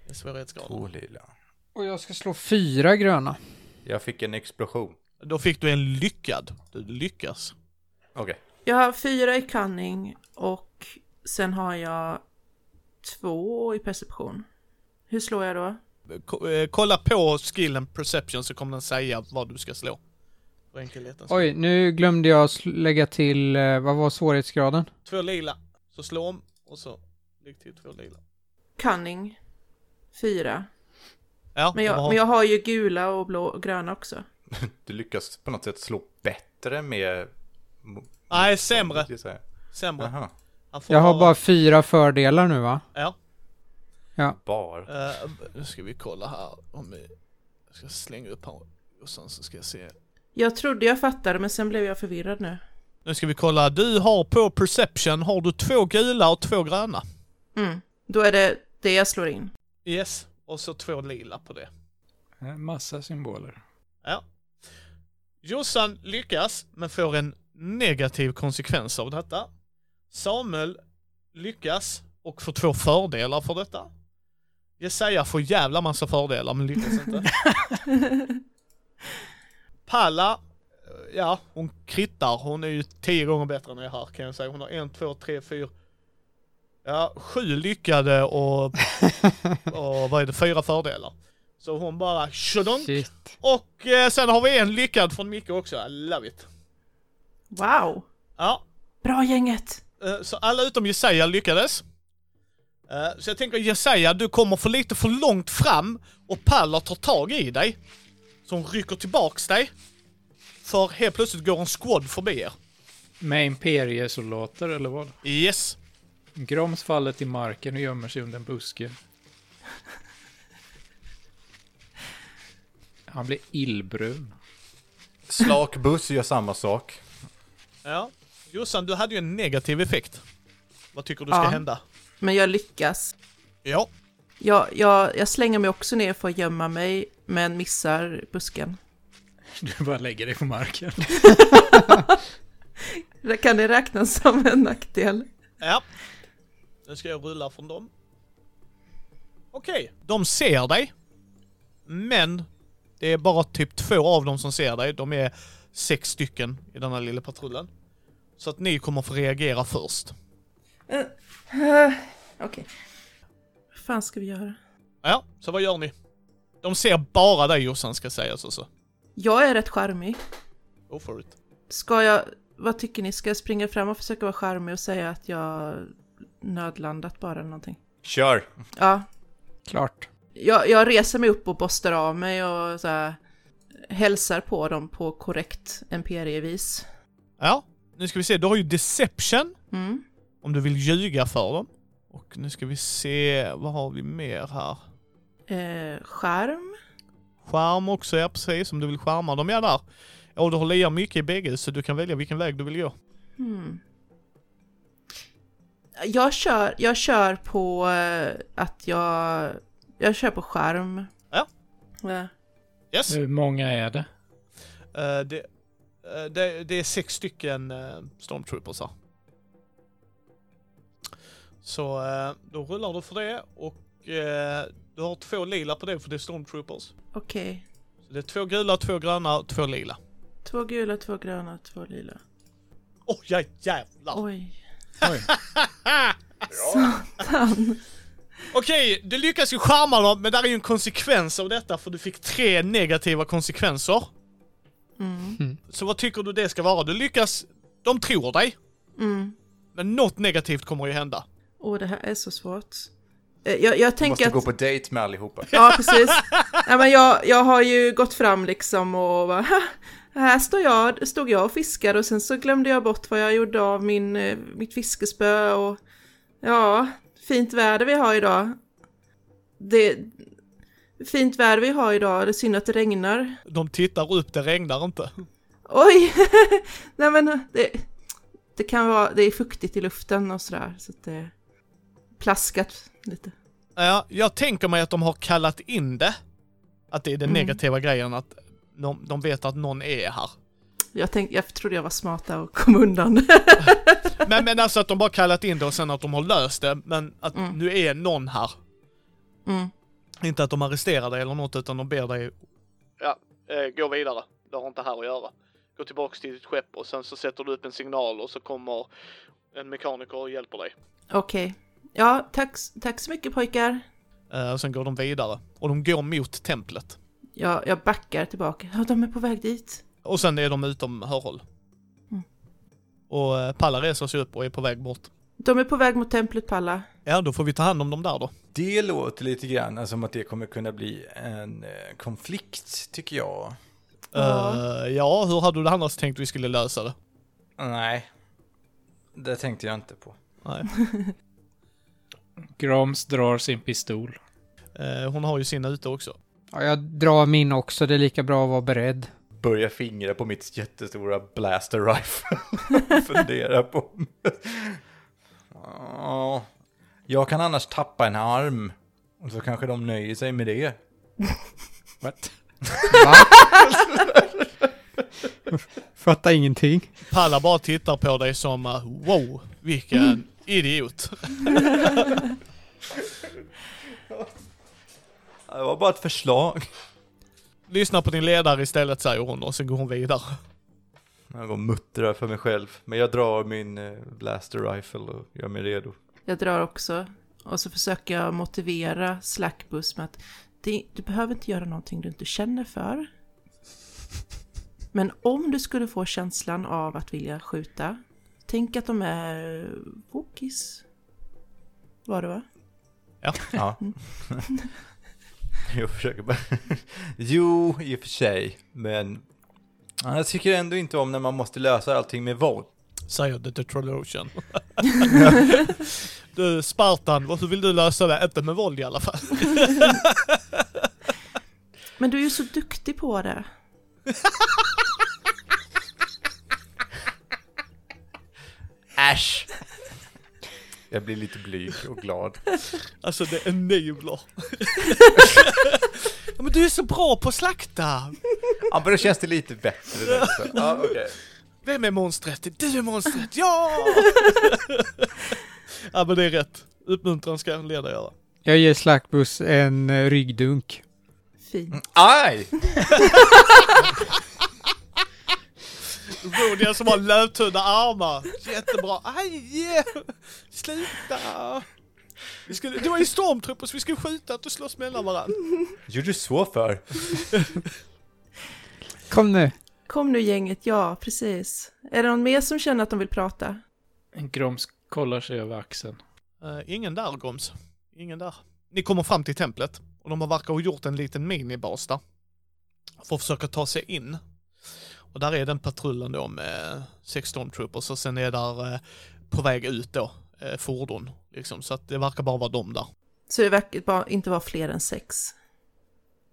Speaker 2: Det är svårighetsgraden.
Speaker 3: Två lila.
Speaker 5: Och jag ska slå fyra gröna.
Speaker 3: Jag fick en explosion.
Speaker 2: Då fick du en lyckad. Du lyckas.
Speaker 3: Okej.
Speaker 4: Jag har fyra i cunning och sen har jag två i perception. Hur slår jag då?
Speaker 2: Ko- eh, Kolla på skillen perception så kommer den säga vad du ska slå. För enkelhetens skull.
Speaker 5: Oj, nu glömde jag sl- lägga till, eh, vad var svårighetsgraden?
Speaker 2: Två lila. Så slå om och så lägg till två lila.
Speaker 4: Cunning, fyra.
Speaker 2: Ja,
Speaker 4: Men jag,
Speaker 2: bra.
Speaker 4: men jag har ju gula och blå och gröna också.
Speaker 3: Du lyckas på något sätt slå bättre med... mo-
Speaker 2: Nej, sämre.
Speaker 3: jag säga.
Speaker 2: Sämre.
Speaker 3: Jaha.
Speaker 2: Han får
Speaker 5: Jag har
Speaker 2: bara-
Speaker 5: bara fyra fördelar nu va?
Speaker 2: Ja.
Speaker 5: Ja.
Speaker 3: Bar.
Speaker 2: eh, nu ska vi kolla här om vi... Jag ska slänga upp här och sen så ska jag se.
Speaker 4: Jag trodde jag fattade men sen blev jag förvirrad nu.
Speaker 2: Nu ska vi kolla. Du har på perception har du två gula och två gröna.
Speaker 4: Mm. Då är det det jag slår in.
Speaker 2: Yes. Och så två lila på det.
Speaker 6: En massa symboler.
Speaker 2: Ja. Jossan lyckas, men får en negativ konsekvens av detta. Samuel lyckas och får två fördelar för detta. Jesaja får jävla massa fördelar, men lyckas inte. Palla, eh, ja, hon krittar. Hon är ju tio gånger bättre än jag här, kan jag säga. Hon har en, två, tre, fyra, Ja, sju lyckade och, och vad är det, fyra fördelar. Så hon bara tjodonk.
Speaker 5: Shit.
Speaker 2: Och eh, sen har vi en lyckad från Micke också, I love it.
Speaker 4: Wow!
Speaker 2: Ja,
Speaker 4: Bra gänget!
Speaker 2: eh, så alla utom Jesaja lyckades. Eh, Så jag tänker Jesaja, du kommer för lite för långt fram och Paller tar tag i dig. Så hon rycker tillbaks dig. För helt plötsligt går en squad förbi er.
Speaker 6: Med imperiesoldater eller vad?
Speaker 2: Yes.
Speaker 6: Groms faller till marken och gömmer sig under en buske. Han blir illbrun.
Speaker 3: Slak buss gör samma sak.
Speaker 2: Ja. Jossan, du hade ju en negativ effekt. Vad tycker du ska
Speaker 4: Ja.
Speaker 2: hända?
Speaker 4: Men jag lyckas.
Speaker 2: Ja.
Speaker 4: Jag, jag, jag slänger mig också ner för att gömma mig, men missar busken.
Speaker 6: Du bara lägger dig på marken.
Speaker 4: Kan det räknas som en nackdel?
Speaker 2: Ja. Nu ska jag rulla från dem. Okej, de ser dig. Men det är bara typ två av dem som ser dig. De är sex stycken i den här lilla patrullen. Så att ni kommer få reagera först.
Speaker 4: Eh, Okej. Vad fan ska vi göra?
Speaker 2: Ja, så vad gör ni? De ser bara dig Jossan ska sägas alltså. och så.
Speaker 4: Jag är rätt charmig.
Speaker 2: Go for it.
Speaker 4: Ska jag, vad tycker ni? Ska jag springa fram och försöka vara charmig och säga att jag nödlandat bara eller någonting?
Speaker 3: Kör!
Speaker 4: Ja,
Speaker 5: Klart.
Speaker 4: jag, jag reser mig upp och borstar av mig och så här, hälsar på dem på korrekt imperievis.
Speaker 2: Ja, nu ska vi se. Du har ju deception.
Speaker 4: Mm.
Speaker 2: Om du vill ljuga för dem. Och nu ska vi se, vad har vi mer här?
Speaker 4: Eh, skärm.
Speaker 2: Skärm också, ja precis. Om du vill skärma dem, ja där. Ja, du har lika mycket i bägge så du kan välja vilken väg du vill gå.
Speaker 4: Hmm. Jag kör, jag kör på eh, att jag, jag kör på skärm.
Speaker 2: Ja.
Speaker 4: Eh,
Speaker 2: Yes.
Speaker 6: Hur många är det?
Speaker 2: Eh, det, eh, det, det är sex stycken eh, stormtroopers här. Så eh, då rullar du för det och eh, du har två lila på det för det är stormtroopers.
Speaker 4: Okej.
Speaker 2: Så det är två gula, två gröna och två lila.
Speaker 4: Två gula, två gröna, två lila.
Speaker 2: Åh oh, ja, jävlar!
Speaker 4: Oj.
Speaker 6: Oj.
Speaker 4: Satan.
Speaker 2: Okej, du lyckas ju charma dem, men där är ju en konsekvens av detta för du fick tre negativa konsekvenser.
Speaker 4: Mm.
Speaker 2: Så vad tycker du det ska vara? Du lyckas, de tror dig,
Speaker 4: Mm.
Speaker 2: men något negativt kommer ju hända.
Speaker 4: Åh, det här är så svårt. Eh, Jag, jag
Speaker 3: Du
Speaker 4: tänker
Speaker 3: måste
Speaker 4: att...
Speaker 3: gå på dejt med allihopa.
Speaker 4: Ja, precis. Nej, men jag, jag har ju gått fram liksom och bara, "Ha, här står jag, stod jag och fiskade och sen så glömde jag bort vad jag gjorde av min, eh, mitt fiskespö och ja, fint väder vi har idag. Det, fint väder vi har idag, det är synd att det regnar.
Speaker 2: De tittar upp, det regnar inte.
Speaker 4: Oj! Nej men det, det kan vara, det är fuktigt i luften och sådär så att det är plaskat lite.
Speaker 2: Ja, jag tänker mig att de har kallat in det. Att det är den
Speaker 4: Mm.
Speaker 2: negativa grejen, att de, de vet att någon är här.
Speaker 4: Jag, tänkte, jag trodde jag var smart där och kom undan.
Speaker 2: Men, men alltså att de bara kallat in det och sen att de har löst det, men att
Speaker 4: Mm.
Speaker 2: nu är någon här.
Speaker 4: Mm.
Speaker 2: Inte att de arresterar dig eller något, utan de ber dig... Ja, eh, gå vidare. Det har inte här att göra. Gå tillbaks till ditt skepp och sen så sätter du upp en signal och så kommer en mekaniker och hjälper dig.
Speaker 4: Okej. Ja, tack, tack så mycket pojkar.
Speaker 2: Eh, och sen går de vidare. Och de går mot templet.
Speaker 4: Jag, jag backar tillbaka. Ja, de är på väg dit.
Speaker 2: Och sen är de utom hörhåll.
Speaker 4: Mm.
Speaker 2: Och eh, Palla reser sig upp och är på väg bort.
Speaker 4: De är på väg mot templet Palla.
Speaker 2: Ja, då får vi ta hand om dem där då.
Speaker 3: Det låter lite grann alltså, som att det kommer kunna bli en eh, konflikt, tycker jag.
Speaker 2: Ja,
Speaker 4: Ja.
Speaker 2: Eh, ja hur hade du annars tänkt vi skulle lösa det?
Speaker 3: Nej, det tänkte jag inte på.
Speaker 2: Nej.
Speaker 6: Groms drar sin pistol.
Speaker 2: Eh, hon har ju sina ute också.
Speaker 5: Ja, jag drar min också, det är lika bra att vara beredd.
Speaker 3: Börja fingra på mitt jättestora blaster rifle. Fundera på. Ja, jag kan annars tappa en arm. Och så kanske de nöjer sig med det.
Speaker 6: What?
Speaker 5: Va? Fattar ingenting.
Speaker 2: Palla bara tittar på dig som eh, wow,
Speaker 4: Mm.
Speaker 2: vilken idiot.
Speaker 3: Ja, Det var bara ett förslag.
Speaker 2: Lyssna på din ledare istället säger hon och sen går hon vidare.
Speaker 3: Jag går och muttrar för mig själv. Men jag drar min eh, blaster rifle och gör mig redo.
Speaker 4: Jag drar också. Och så försöker jag motivera Slackbus med att det, du behöver inte göra någonting du inte känner för. Men om du skulle få känslan av att vilja skjuta, tänk att de är wokis. Var det va?
Speaker 3: Ja. jag försöker bara. Jo, i och för sig. Men Ja, jag tycker ändå inte om när man måste lösa allting med våld.
Speaker 2: Säger The Detrolotion. du Spartan, hur vill du lösa det? Inte med våld i alla fall.
Speaker 4: Men du är ju så duktig på det.
Speaker 3: Äsch! Jag blir lite blyg och glad.
Speaker 2: Alltså det enabler. ja, men du är så bra på att slakta.
Speaker 3: Ja, men då känns det lite bättre. nu, så. Ja, okej.
Speaker 2: Vem är monstret? Du är monstret, ja! ja men det är rätt. Uppmuntran ska en ledare göra.
Speaker 5: Jag ger Slackbus en eh, ryggdunk.
Speaker 4: Fint.
Speaker 3: Aj!
Speaker 2: Rodian som har lövtunna armar. Jättebra. Aj! Sluta! Vi skulle, det var ju stormtruppers, vi skulle skjuta och slåss mellan varandra.
Speaker 3: Gjorde du så för?
Speaker 5: Kom nu.
Speaker 4: Kom nu gänget, ja precis. Är det någon mer som känner att de vill prata?
Speaker 6: Groms kollar sig över axeln.
Speaker 2: Eh, ingen där Groms. Ingen där. Ni kommer fram till templet och de har verkar ha gjort en liten minibas där. För att försöka ta sig in. Och där är den patrullen då med sex stormtroopers och sen är där eh, på väg ut då eh, fordon. Liksom. Så att det verkar bara vara de där.
Speaker 4: Så det verkar bara inte vara fler än sex.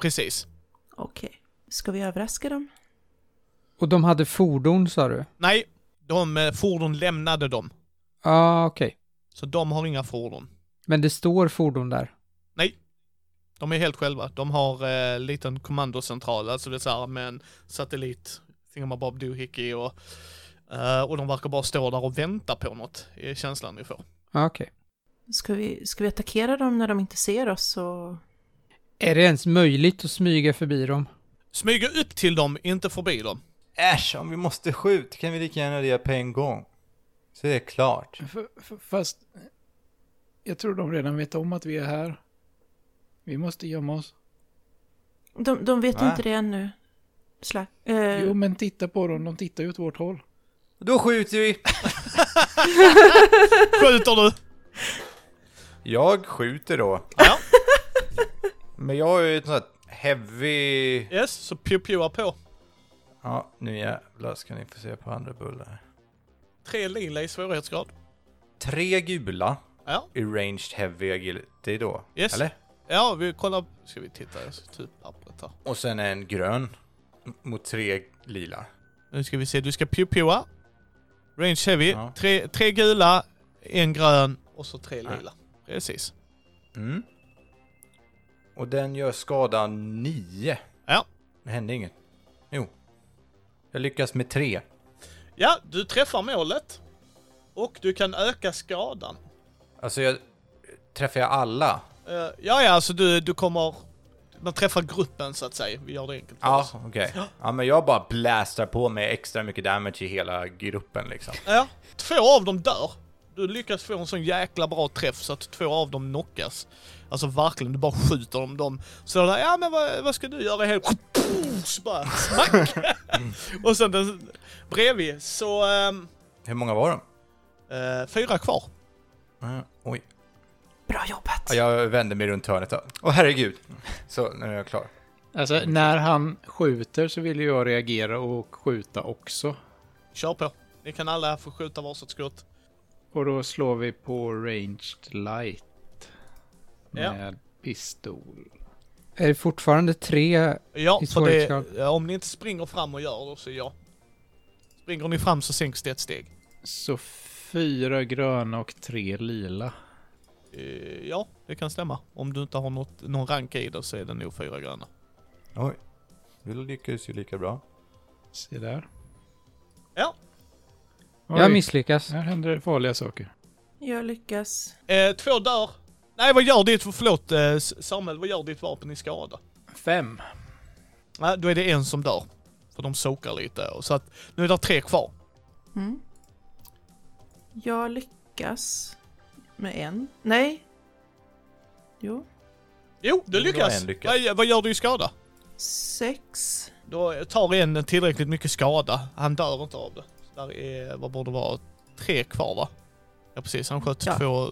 Speaker 2: Precis.
Speaker 4: Okej. Ska vi överraska dem?
Speaker 5: Och de hade fordon sa du?
Speaker 2: Nej, de eh, fordon lämnade dem.
Speaker 5: Ja, okej.
Speaker 2: Så de har inga fordon.
Speaker 5: Men det står fordon där.
Speaker 2: De är helt själva. De har eh, en liten kommandocentral, alltså det är så här med en satellit, Thingamabob Doohickey och, eh, och de verkar bara stå där och vänta på något, är känslan ni får.
Speaker 5: Ja, okej.
Speaker 4: Ska vi, ska vi attackera dem när de inte ser oss? Och...
Speaker 5: Är det ens möjligt att smyga förbi dem?
Speaker 2: Smyga upp till dem, inte förbi dem.
Speaker 3: Äsch, om vi måste skjuta kan vi lika gärna göra det på en gång. Så är det klart.
Speaker 6: F- f- Fast jag tror de redan vet om att vi är här. Vi måste gömma oss.
Speaker 4: De, de vet
Speaker 3: Va?
Speaker 4: inte det ännu. Slack. Eh,
Speaker 6: Jo, men titta på dem. De tittar ju åt vårt håll.
Speaker 3: Då skjuter vi!
Speaker 2: Skjuter du?
Speaker 3: Jag skjuter då.
Speaker 2: Ja,
Speaker 3: Men jag är ju ett sånt här heavy...
Speaker 2: yes, så pju-pjuar på.
Speaker 3: Ja, nu jävlar ska ni få se på andra bullar.
Speaker 2: Tre lila i svårighetsgrad.
Speaker 3: Tre gula
Speaker 2: Ja,
Speaker 3: i ranged heavy agility då.
Speaker 2: Yes.
Speaker 3: Eller?
Speaker 2: ja, vi kollar, ska vi titta, jag ska ta upp pappret här.
Speaker 3: Och sen en grön m- mot tre lila.
Speaker 2: Nu ska vi se, du ska pju-pjua. Range heavy,
Speaker 3: Ja.
Speaker 2: tre, tre gula, en grön och så tre lila. Precis.
Speaker 3: Mm. Och den gör skada nio.
Speaker 2: Ja.
Speaker 3: Det hände inget. Jo. Jag lyckas med tre.
Speaker 2: Ja, du träffar målet. Och du kan öka skadan.
Speaker 3: Alltså jag... Träffar jag alla?
Speaker 2: Eh, ja, ja, alltså du, du kommer... Man träffar gruppen så att säga. Vi gör det enkelt för
Speaker 3: Ja,
Speaker 2: oss.
Speaker 3: Alltså, okej. Ja, men jag bara blastar på med extra mycket damage i hela gruppen liksom.
Speaker 2: Ja. Två av dem dör. Du lyckas få en sån jäkla bra träff så att två av dem knockas. Alltså verkligen, du bara skjuter dem. dem. Så där, ja men vad, vad ska du göra helt... Så bara smack! Och sen den bredvid så... ehm,
Speaker 3: Hur många var de?
Speaker 2: eh, fyra kvar.
Speaker 3: Mm, Oj.
Speaker 4: Bra jobbat!
Speaker 3: Ja, Jag vände mig runt hörnet då. Åh herregud. Så, nu är jag klar.
Speaker 6: Alltså, när han skjuter så vill ju jag reagera och skjuta också.
Speaker 2: Kör på. Ni kan alla få skjuta varsitt skott.
Speaker 6: Och då slår vi på ranged light.
Speaker 2: Ja.
Speaker 6: Med pistol.
Speaker 5: Är det fortfarande tre?
Speaker 2: Ja, för det,
Speaker 5: I svårighetsgrad.
Speaker 2: ja, om ni inte springer fram och gör det så ja. Springer ni fram så sänks det ett steg.
Speaker 6: Så fyra gröna och tre lila.
Speaker 2: Eh, Ja, det kan stämma. Om du inte har något, någon rank i det så är det nog fyra gröna.
Speaker 3: Oj. Du lyckades ju lika bra.
Speaker 6: Se där.
Speaker 2: Ja.
Speaker 6: Oj,
Speaker 5: Jag misslyckas.
Speaker 6: Här händer det farliga saker.
Speaker 4: Jag lyckas.
Speaker 2: Eh, två dör. Nej, vad gör ditt, förlåt eh, S- Samuel, vad gör ditt vapen i skada?
Speaker 6: Fem.
Speaker 2: Nej, då är det en som dör. För de sokar lite och så att nu är det tre kvar.
Speaker 4: Mm. Jag Mm. lyckas. med en. Nej. Jo.
Speaker 2: Jo, du
Speaker 3: Det var
Speaker 2: lyckas!
Speaker 3: en lyckas.
Speaker 2: Vad, vad gör du i skada?
Speaker 4: Sex.
Speaker 2: Då tar en tillräckligt mycket skada. Han dör inte av det. Så där är, vad borde det vara, tre kvar va? Ja precis, han sköt
Speaker 4: Ja.
Speaker 2: två.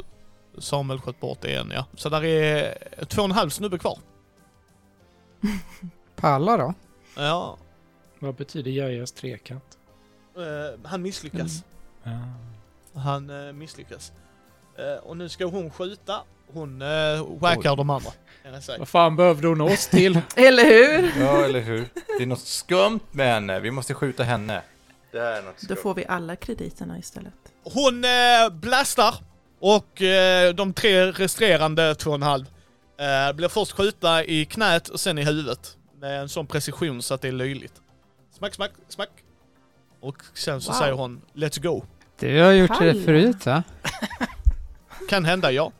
Speaker 2: Samuel sköt bort en ja. Så där är två och en halv snubbe kvar.
Speaker 5: Palla då?
Speaker 2: Ja,
Speaker 6: Vad betyder Jajas trekant?
Speaker 2: eh, han misslyckas.
Speaker 6: Ah.
Speaker 2: Han eh, misslyckas. Eh, och nu ska hon skjuta. Hon eh, wackar de andra. kan jag säga.
Speaker 6: Vad fan behövde hon oss till?
Speaker 4: Eller hur?
Speaker 3: Ja, eller hur? Det är något skumt med henne. Vi måste skjuta henne. Det är något
Speaker 4: Då får vi alla krediterna istället.
Speaker 2: Hon eh, blastar och eh, de tre resterande två och en halv eh, blir först skjuta i knät och sen i huvudet. Med en sån precision så att det är löjligt. Smack, smack, smack. Och sen så
Speaker 4: Wow.
Speaker 2: säger hon “Let's go”.
Speaker 5: Du har gjort det
Speaker 4: Palla.
Speaker 5: förut va?
Speaker 2: Kan hända, ja.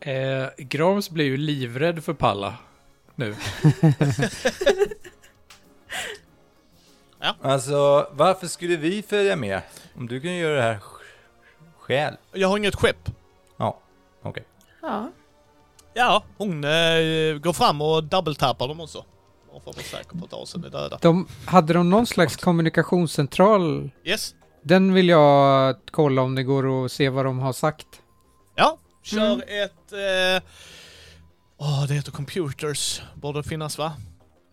Speaker 6: Eh, Grams blir ju livrädd för Palla nu.
Speaker 3: Alltså, varför skulle vi följa med? Om du kan göra det här sj- själv.
Speaker 2: Jag har inget skepp.
Speaker 3: Ja, okej.
Speaker 4: Ja.
Speaker 2: Ja, hon eh, går fram och double-tappar dem också. Hon får vara säker på att Asen är döda.
Speaker 5: De, hade de någon slags kommunikationscentral?
Speaker 2: Yes.
Speaker 5: Den vill jag kolla om det går att se vad de har sagt.
Speaker 2: Ja, kör
Speaker 4: Mm.
Speaker 2: ett... eh, Åh, det heter computers. Borde finnas va?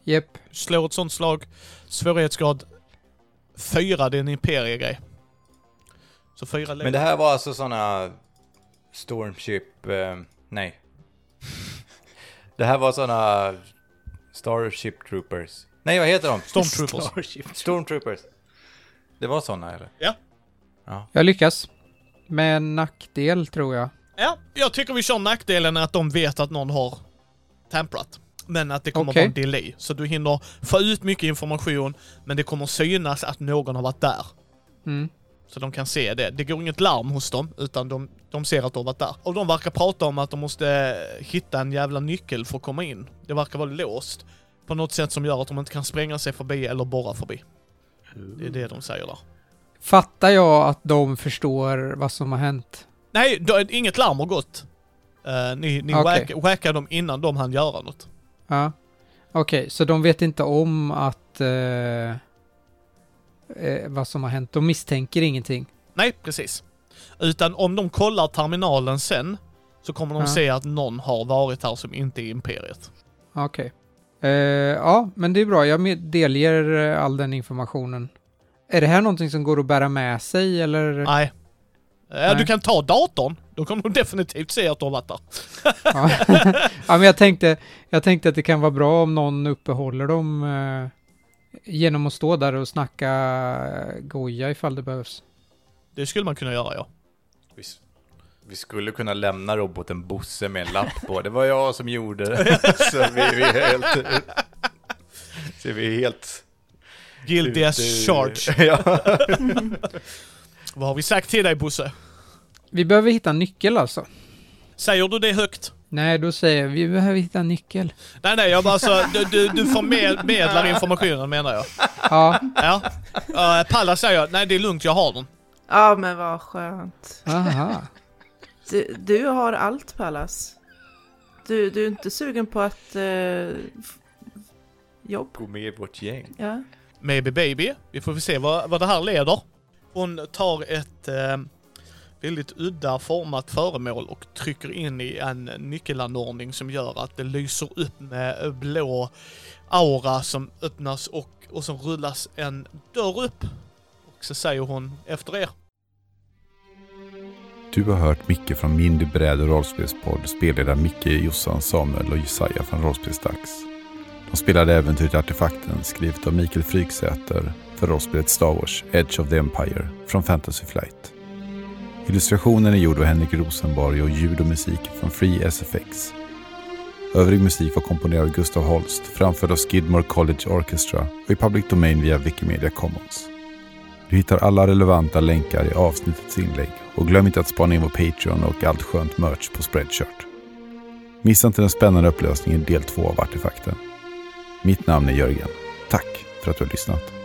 Speaker 5: Jepp.
Speaker 2: Slå ett sånt slag. Svårighetsgrad 4, det är en imperiegrej. Så fyra
Speaker 3: Men det här var alltså sådana Stormship... Eh, nej. Det här var sådana Starship Troopers. Nej, vad heter de?
Speaker 2: Stormtroopers.
Speaker 3: Stormtroopers. Det var sådana, eller?
Speaker 5: Jag lyckas. Med en nackdel tror jag.
Speaker 2: Ja, jag tycker vi kör nackdelen att de vet att någon har tamprat. Men att det kommer
Speaker 5: Okej.
Speaker 2: vara en delay. Så du hinner få ut mycket information, men det kommer synas att någon har varit där.
Speaker 5: Mm.
Speaker 2: Så de kan se det. Det går inget larm hos dem, utan de, de ser att de har varit där. Och de verkar prata om att de måste eh, hitta en jävla nyckel för att komma in. Det verkar vara låst. På något sätt som gör att de inte kan spränga sig förbi eller borra förbi. Det är det de säger där.
Speaker 5: Fattar jag att de förstår vad som har hänt?
Speaker 2: Nej, då, inget larm har gått. Eh, ni ni
Speaker 5: Okej.
Speaker 2: whack, whackar dem innan de hann göra något.
Speaker 5: Ja. Okej, så de vet inte om att... Eh, eh, vad som har hänt. De misstänker ingenting.
Speaker 2: Nej, precis. Utan om de kollar terminalen sen så kommer de
Speaker 5: Ja.
Speaker 2: se att någon har varit här som inte är Imperiet.
Speaker 5: Okej. Eh, ja, men det är bra. Jag med- delger eh, all den informationen. Är det här någonting som går att bära med sig eller?
Speaker 2: Nej. Eh,
Speaker 5: Nej.
Speaker 2: Du kan ta datorn. Då kommer de definitivt se att du har varit där.
Speaker 5: Ja. ja, men jag tänkte, jag tänkte att det kan vara bra om någon uppehåller dem eh, genom att stå där och snacka eh, goja ifall det behövs.
Speaker 2: Det skulle man kunna göra, ja.
Speaker 3: Vi, s- vi skulle kunna lämna roboten Bosse med en lapp på. Det var jag som gjorde det. Så vi, vi är helt... Så vi är helt...
Speaker 2: Guilty as
Speaker 3: ute ur-
Speaker 2: charge.
Speaker 3: ja.
Speaker 2: Vad har vi sagt till dig, Bosse?
Speaker 5: Vi behöver hitta en nyckel alltså.
Speaker 2: Säger du det högt?
Speaker 5: Nej, då säger jag, vi behöver hitta en nyckel.
Speaker 2: Nej, nej, jag bara så... Du, du, du förmedlar informationen, menar jag.
Speaker 5: Ja,
Speaker 2: Ja. Uh, Palla säger, nej det är lugnt, jag har den.
Speaker 4: Ja, men vad skönt.
Speaker 5: aha.
Speaker 4: Du, du har allt, Pallas. Du, du är inte sugen på att... Eh, f- jobb?
Speaker 3: Gå med i vårt gäng.
Speaker 4: Ja.
Speaker 2: Maybe baby. Vi får väl se vad, vad det här leder. Hon tar ett eh, väldigt udda format föremål och trycker in i en nyckelanordning som gör att det lyser upp med blå aura som öppnas och, och som rullas en dörr upp. Och så säger hon efter er.
Speaker 1: Du har hört Micke från Mindy Bräd och rollspelspodd spelleda Micke, Jossan, Samuel och Jesaja från Rollspelsdags. De spelade äventyret Artefakten skrivet av Mikael Fryksäter för rollspelet Star Wars Edge of the Empire från Fantasy Flight. Illustrationen är gjord av Henrik Rosenborg och ljud och musik från Free SFX. Övrig musik var komponerad av Gustav Holst, framförd av Skidmore College Orchestra och i public domain via Wikimedia Commons. Du hittar alla relevanta länkar i avsnittets inlägg och glöm inte att spana in vår Patreon och allt skönt merch på Spreadshirt. Missa inte den spännande upplösningen del 2 av Artefakten. Mitt namn är Jörgen. Tack för att du har lyssnat.